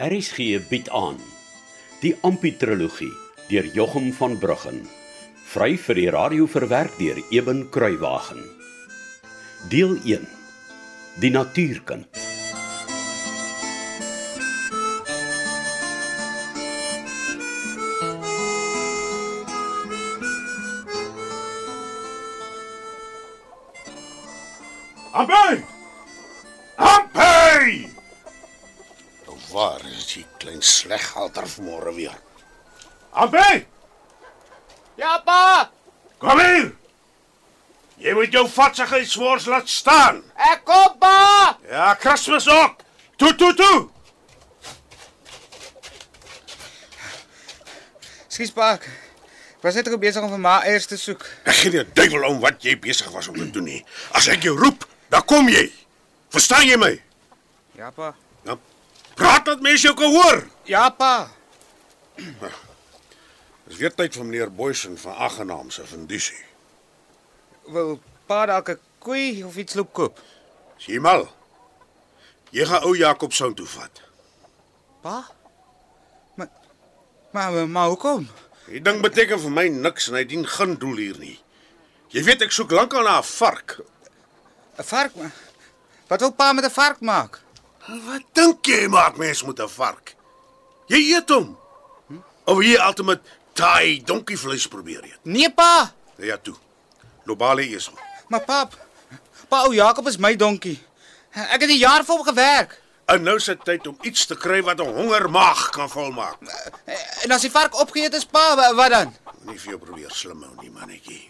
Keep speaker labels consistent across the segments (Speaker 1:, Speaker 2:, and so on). Speaker 1: RSG bied aan die Amputrologie deur Jochum van Bruggen vry vir die radio verwerk deur Eben Kruiwagen deel 1 die natuurkind
Speaker 2: Ampie! Ampie!
Speaker 3: Nou Waar is die klein sleghalter vanmôre weer?
Speaker 2: Ampie!
Speaker 4: Ja pa,
Speaker 2: Kom hier! Jy moet jou vatsigheidswors laat staan.
Speaker 4: ek kom pa.
Speaker 2: Ja, Kersfees ook. Toe toe toe.
Speaker 5: Skus pa. ek Was net ook besig om vir my eiers te soek.
Speaker 3: Ek gee nie 'n duiwel om wat jy besig was om te doen nie. As ek jou roep, dan kom jy. Verstaan jy my?
Speaker 5: Ja pa.
Speaker 3: Nou, praat dat mense jou kan hoor.
Speaker 5: Ja pa.
Speaker 3: Dis weer tyd vir meneer Boysen van Aggenaam se fundisie.
Speaker 5: Wil pa dalk 'n koei of iets loop koop?
Speaker 3: Is jy mal? Jy gaan ou Jakob sou toe vat.
Speaker 5: Pa? Maar maar maar, maar hoekom?
Speaker 3: Die ding beteken vir my niks en hy dien geen doel hier nie. Jy weet ek soek lankal na 'n vark.
Speaker 5: 'n Vark maar. Wat wil pa met 'n vark maak?
Speaker 3: Wat dink jy maak mens met 'n vark? Jy eet hom. Of jy altyd taai donkievleis probeer eet.
Speaker 5: Nee pa.
Speaker 3: Nou Ja toe. Globale esel.
Speaker 5: Maar pap. Pa ou Jakob is my donkie. Ek het 'n jaar vir hom gewerk.
Speaker 3: En nou sit tyd om iets te kry wat 'n hongermaag kan volmaak.
Speaker 5: En as die vark opgeëet is pa, wa- wat dan?
Speaker 3: Moenie vir jou probeer slim hou nie, mannetjie.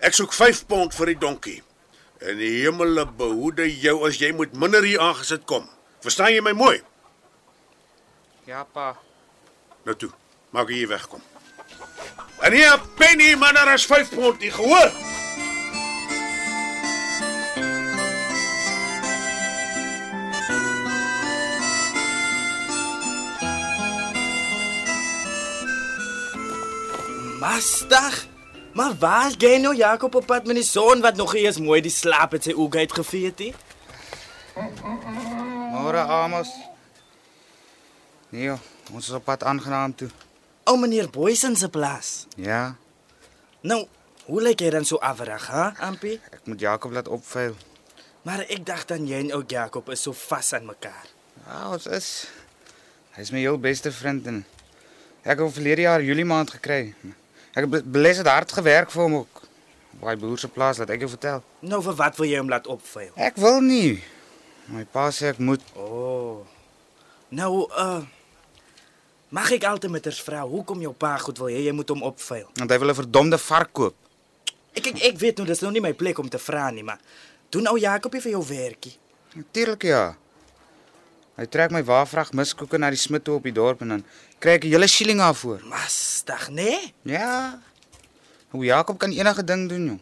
Speaker 3: Ek soek 5 pond vir die donkie. En die hemel behoede jou as jy moet minder hier aangesit kom. Verstaan jy my mooi?
Speaker 5: Ja pa.
Speaker 3: Nou toe. Maak jy hier wegkom. En nie 'n penny minder as 5 pond nie, gehoor?
Speaker 6: Masdag. Maar waar is jy nou Jakob op pad met die son wat nog eers mooi die slaap het sy oog uitgeveet het?
Speaker 5: Môre Amos. Nee, joh, ons is op pad aangenaam toe.
Speaker 6: O meneer Boysen se plaas.
Speaker 5: Ja,
Speaker 6: Nou, hoe lyk jy dan so afrig, hè, Ampi?
Speaker 5: ek moet Jakob laat opvuil.
Speaker 6: Maar ek dacht dan jy en ou Jakob is so vas aan mekaar.
Speaker 5: Ja, ons is. Hy's my heel beste vriend en ek het hom verlede jaar Julie maand gekry. Ek het be- beles het hard gewerk vir hom ook. Op Daai boer se plaas laat ek jou vertel.
Speaker 6: Nou vir wat wil jy hom laat opvuil?
Speaker 5: Ek wil nie. My pa sê ek moet.
Speaker 6: O. Oh. Nou, uh Mag ek altyd met haar vra hoekom jou pa goed wil hê jy moet hom opvuil?
Speaker 5: Want hy wil 'n verdomde vark koop.
Speaker 6: Ek ek, ek weet nou dis nou nie my plek om te vra nie, maar doen ou Jakobie vir jou werkie.
Speaker 5: Natuurlik ja. Hy trek my waarvrag miskoeke na die smid toe op die dorp en dan kry ek 'n hele shilling daarvoor.
Speaker 6: Masdag, nee?
Speaker 5: Ja. Hoe Jakob kan enige ding doen, jong.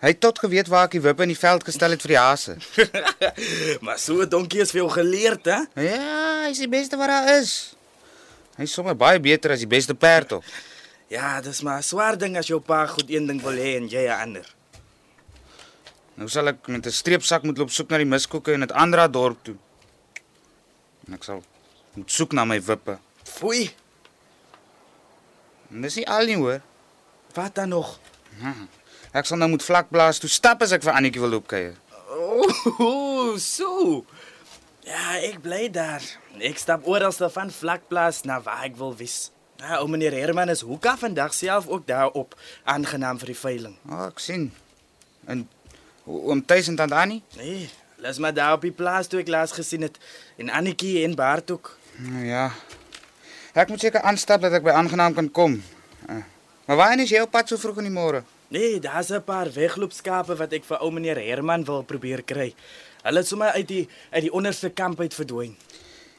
Speaker 5: Hy het tot geweet waar ek die wippe in die veld gestel het vir die hase.
Speaker 6: maar so 'n donkie is vir jou geleerd, hè?
Speaker 5: Ja, hy's die beste wat daar is. Hy's sommer baie beter as die beste perd op.
Speaker 6: Ja, dis maar 'n swaar ding as jou pa goed een ding wil hê en jy 'n ander.
Speaker 5: Nou sal ek met 'n streepsak moet loop soek na die miskoeke in 'n ander dorp toe. En ek sal moet soek na my wippe.
Speaker 6: Foei,
Speaker 5: En dis nie al nie hoor.
Speaker 6: wat dan nog?
Speaker 5: Ek sal nou moet vlak blaas toe stap as ek vir Annetjie wil loop kuier.
Speaker 6: Ooh, so. Ja, ek bly daar. Ek stap oral van vlakplaas na waar ek wil wees. Ja, ou meneer Herman is hoeka vandag self ook daarop aangenaam vir die veiling.
Speaker 5: O, oh, ek sien. En o- oom Tuis en tant Annie?
Speaker 6: Nee, laat maar daar op die plaas toe ek laas gesien het en Annetjie en Bart ook.
Speaker 5: Nou ja. Ek moet seker aanstap dat ek by aangenaam kan kom. Eh, Maar waarheen is jy op pad so vroeg in die môre?
Speaker 6: Nee, daar's 'n paar wegloopskape wat ek vir ou meneer Herman wil probeer kry. Hulle het sommer uit die uit die onderste kamp uit verdwyn.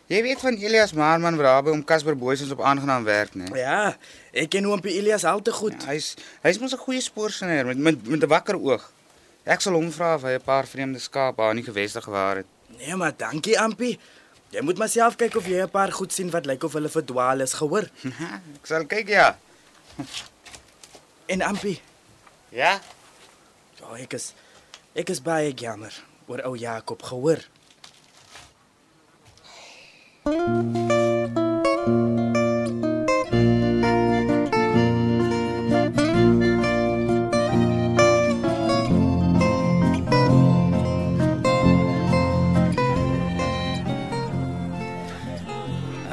Speaker 5: Jy weet van Elias Maarman wat daar by om Casper Boysens op aangenaam werk, né? Nee?
Speaker 6: Ja, ek ken oompie Elias al te goed.
Speaker 5: Hy's hy's mos 'n goeie spoorsnyer met met met 'n wakker oog. Ek sal hom vra of hy 'n paar vreemde skaap aan die geweste gewaar het.
Speaker 6: Nee, maar dankie oompie. Jy moet maar self kyk of jy 'n paar goed sien wat lyk of hulle verdwaal is, gehoor?
Speaker 5: ek sal kyk ja.
Speaker 6: En oompie,
Speaker 5: Ja.
Speaker 6: ja, oh, ek is ek is baie jammer oor ou Jakob, gehoor?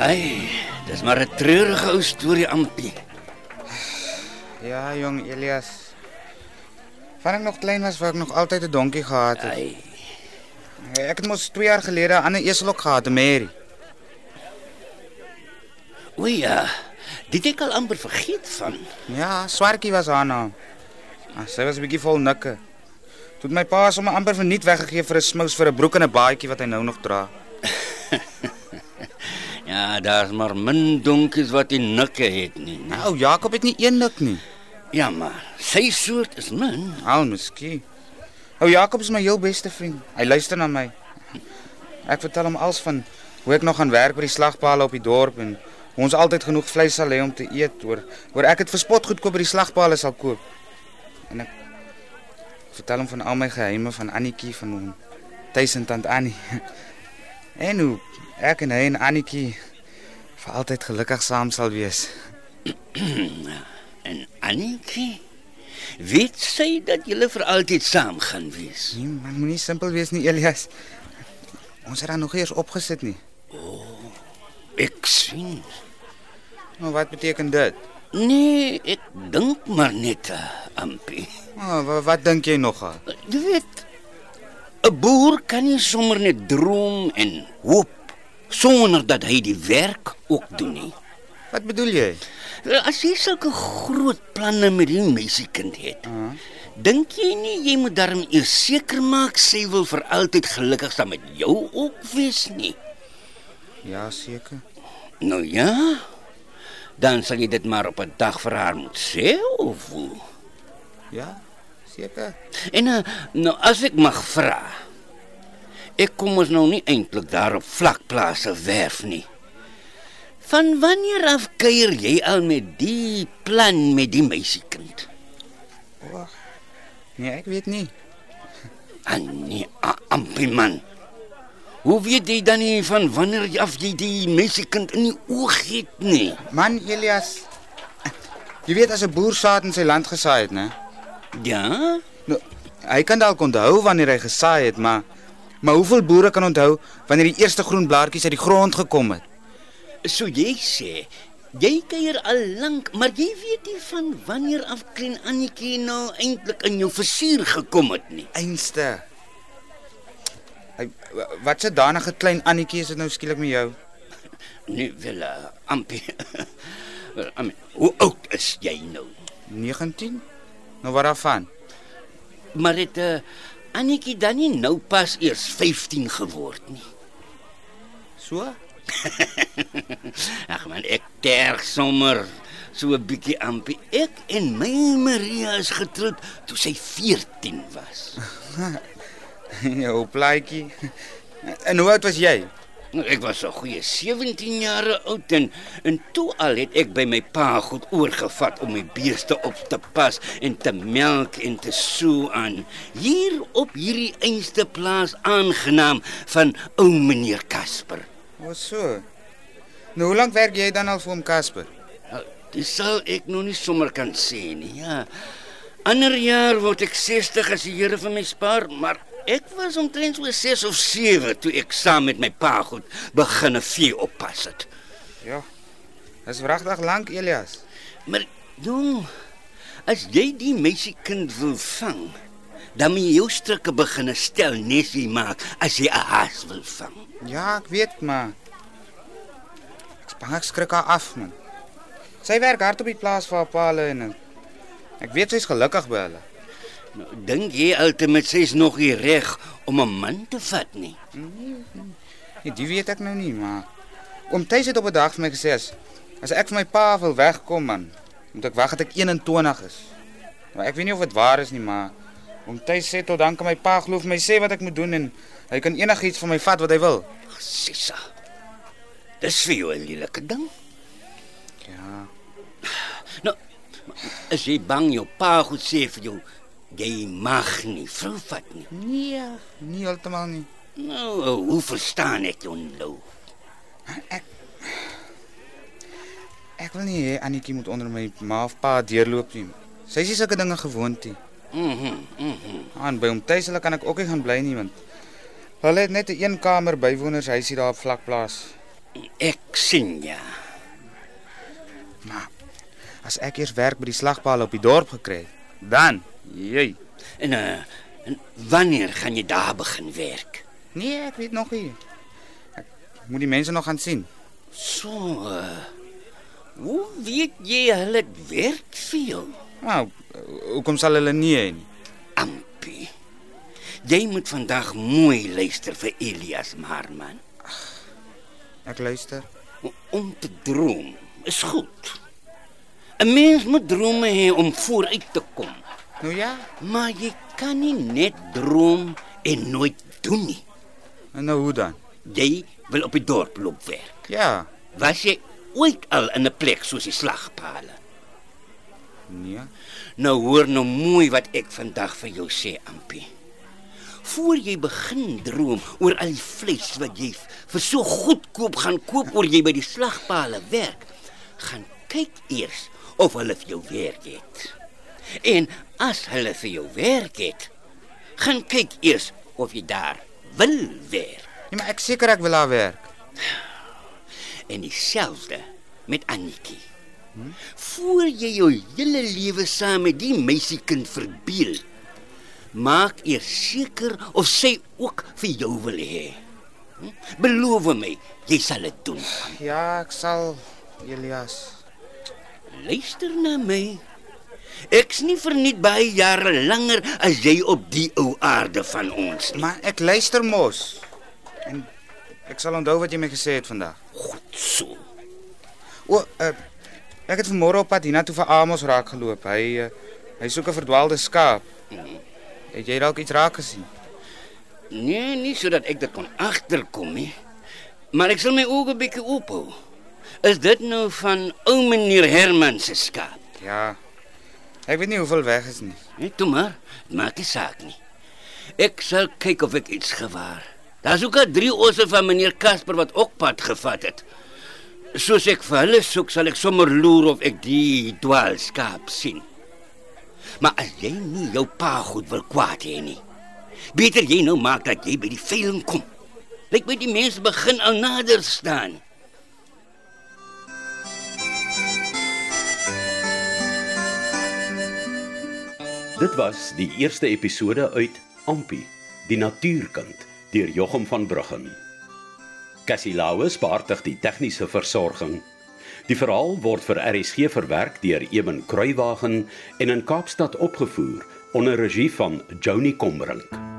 Speaker 7: Ai, dis maar 'n treurige ou storie ampie.
Speaker 5: Ja, jong Elias. Van ek nog klein was, wou ek nog altyd 'n donkie gehad het.
Speaker 7: Ai,
Speaker 5: Ek het mos 2 jaar gelede 'n ander esel ook gehad, 'n Mary.
Speaker 7: o ja. Dit het ek al amper vergeet van.
Speaker 5: Ja, Swartjie was haar naam. Ah, sy was 'n bietjie vol nikke. Toe het my pa sommer amper verniet weggegee vir 'n smous vir 'n broek en 'n baadjie wat hy nou nog dra.
Speaker 7: Ja, daar's maar min donkies wat die nikke het nie. né?
Speaker 5: Nou, Jakob het nie een nik nie.
Speaker 7: Ja, maar sy soort is min.
Speaker 5: Ou, miskien. Ou Jakob is my heel beste vriend. Hy luister na my. Ek vertel hom als van hoe ek nog gaan werk by die slagpale op die dorp en hoe ons altyd genoeg vleis sal hê om te eet, oor oor ek dit vir spot goedkoop by die slagpale sal koop. En ek vertel hom van al my geheime van Annetjie van hom. Tuis en tant Annie. En hoe ek en hy en Annetjie vir altyd gelukkig saam sal wees.
Speaker 7: En Annetjie, weet sy dat julle vir altyd saam gaan wees?
Speaker 5: Nee, man, moenie simpel wees nie, Elias. Ons het dan nog eers opgesit nie.
Speaker 7: Ek sien.
Speaker 5: Maar wat beteken dit?
Speaker 7: Nee, ek dink maar net eh, ampie.
Speaker 5: Oh, wat, wat dink jy nogal?
Speaker 7: Jy weet, 'n boer kan nie sommer net droom en hoop sonder dat hy die werk ook doen nie.
Speaker 5: Wat bedoel jy?
Speaker 7: As jy sulke groot planne met die meisiekind het, dink jy nie jy moet darm eers seker maak sy wil vir altyd gelukkig saam met jou ook wees nie?
Speaker 5: Ja, seker.
Speaker 7: Nou ja, dan sal jy dit maar op 'n dag vir haar moet sê of hoe?
Speaker 5: Ja, seker.
Speaker 7: En eh, nou as ek mag vra. Ek kom ons nou nie eintlik daar op vlakplase werf nie. Van wanneer af kuier jy al met die plan met die meisiekind?
Speaker 5: Nee, ek weet nie.
Speaker 7: Aan nee, a- ampie man. Hoe weet jy dan nie van wanneer jy af jy die meisiekind in die oog het nie?
Speaker 5: Man, Elias. Jy weet as 'n boer saad in sy land gesaai het, né?
Speaker 7: Ja?
Speaker 5: Nou, hy kan dalk onthou wanneer hy gesaai het, maar maar hoeveel boere kan onthou wanneer die eerste groen blaartjies uit die grond gekom het?
Speaker 7: So jy sê jy kuier al lank, maar jy weet nie van wanneer af klein Annetjie nou eintlik in jou versuur gekom het nie.
Speaker 5: Einste. Hy wat se danige klein Annetjie is dit nou skielik met jou?
Speaker 7: Nee, wel, uh, Ampie. wel, Ampie, hoe oud is jy nou?
Speaker 5: 19? Nou wat daarvan?
Speaker 7: Maar het uh, Annetjie dan nie nou pas eers 15 geword nie?
Speaker 5: So?
Speaker 7: Ag man, ek terg sommer so 'n bietjie Ampie. Ek en my Maria is getroud toe sy 14 was.
Speaker 5: Jou plaatjie. En hoe oud was jy?
Speaker 7: Nou, Ek was 'n goeie 17 jaar oud en en toe al het ek by my pa goed oorgevat om my beeste op te pas en te melk en te soe aan. Hier op hierdie einste plaas aangenaam van ou meneer Casper.
Speaker 5: O, so. Nou hoe lank werk jy dan al vir hom Casper?
Speaker 7: Nou, Dis sal ek nog nie sommer kan sê nie. Ja. Ander jaar word ek 60 as die Here vir my spaar, maar ek was omtrent so 6 of 7 toe ek saam met my pa goed begin 'n vee oppas het.
Speaker 5: Ja. Dis wragtig lank, Elias.
Speaker 7: Maar jong, as jy die meisiekind wil vang, dan moet jy jou strikke begin stel nesie maak as jy 'n haas wil vang.
Speaker 5: Ja, ek weet maar. Ek's bang ek skrik haar af, man. Sy werk hard op die plaas vir haar pa hulle en ek- ek weet sy's gelukkig by hulle.
Speaker 7: Nou, dink jy altemat sy's nog nie reg om 'n man te vat nie.
Speaker 5: Nee, die weet ek nou nie, maar oom Tuis het op 'n dag vir my gesê as, as ek vir my pa wil wegkom man, moet ek wag tot ek 21 is. Maar ek weet nie of dit waar is nie, maar oom Tuis sê tot dan kan my pa glo vir my sê wat ek moet doen en hy kan enigiets van my vat wat hy wil.
Speaker 7: Ag, Sissa. Dis vir jou 'n lelike ding.
Speaker 5: Ja.
Speaker 7: Nou, as jy bang jou pa goed sê vir jou, jy mag nie vrou vat nie.
Speaker 5: Nee, nie heeltemal nie.
Speaker 7: Nou, hoe verstaan ek jou nou?
Speaker 5: Ek wil nie hê Annetjie moet onder my ma of pa deurloop nie. Sy is nie sulke dinge gewoond nie. Mhm, mhm. Aan by hom tuis hulle kan ek ook nie gaan bly nie want hulle het net 'n een kamer bywonershuis hier daar op vlakplaas.
Speaker 7: Ek sien ja.
Speaker 5: Maar as ek eers werk by die slagpaal op die dorp gekry het, dan jy.
Speaker 7: En, uh, en wanneer gaan jy daar begin werk?
Speaker 5: Nee, ek weet nog nie. Ek moet die mense nog gaan sien.
Speaker 7: So. Uh, hoe weet jy hulle het werk vir jou?
Speaker 5: Nou, hoekom sal hulle nie hê nie?
Speaker 7: Ampie. Jy moet vandag mooi luister vir Elias Marman.
Speaker 5: Ek luister.
Speaker 7: Om te droom is goed. 'n Mens moet drome hê om vooruit te kom,
Speaker 5: Nou ja,
Speaker 7: maar jy kan nie net droom en nooit doen nie.
Speaker 5: en nou hoe dan?
Speaker 7: Jy wil op die dorp loop werk.
Speaker 5: Ja.
Speaker 7: Was jy ooit al in 'n plek soos die slagpale?
Speaker 5: Nee.
Speaker 7: Nou hoor nou mooi wat ek vandag vir jou sê, Ampie. Voor jy begin droom oor al die vleis wat jy vir so goedkoop gaan koop oor jy by die slagpale werk, gaan kyk eers of hulle vir jou werk het. En as hulle vir jou werk het, gaan kyk eers of jy daar wil werk.
Speaker 5: Nee, maar ek seker ek wil daar werk.
Speaker 7: En dieselfde met Annetjie. Voor jy jou hele lewe saam met die meisiekind verbeel, maak eers seker of sy ook vir jou wil hê. Hm? Beloof my, jy sal dit doen.
Speaker 5: Ja, ek sal Elias.
Speaker 7: Luister na my. Ek's nie verniet baie jare langer as jy op die ou aarde van ons nie.
Speaker 5: Maar ek luister mos. En ek sal onthou wat jy my gesê het vandag.
Speaker 7: Goed so.
Speaker 5: O, uh, ek het vanmôre op pad hiernatoe vir Amos raak geloop. Hy uh, hy soek 'n verdwaalde skaap. Het jy dalk iets raak gesien?
Speaker 7: Nee, nie sodat ek dit kon agterkom nie. Maar ek sal my oë bietjie oophou. Is dit nou van ou meneer Herman se skaap?
Speaker 5: Ja. Ek weet nie hoeveel weg is nie.
Speaker 7: Net toe maar, het maak nie saak nie. Ek sal kyk of ek iets gewaar. Daar's ook al drie osse van meneer Casper wat ook pad gevat het. Soos ek vir hulle soek, sal ek sommer loer of ek die dwaalskaap sien. Maar as jy nie jou pa goed wil kwaad hê nie, beter jy nou maak dat jy by die veiling kom. Lyk my die mense begin al nader staan.
Speaker 1: Dit was die eerste episode uit Ampi, die natuurkind deur Jochum van Bruggen. Cassie Lauers beheer die tegniese versorging. Die verhaal word vir RSG verwerk deur Eben Kruiwagen en in Kaapstad opgevoer onder regie van Joni Combrink.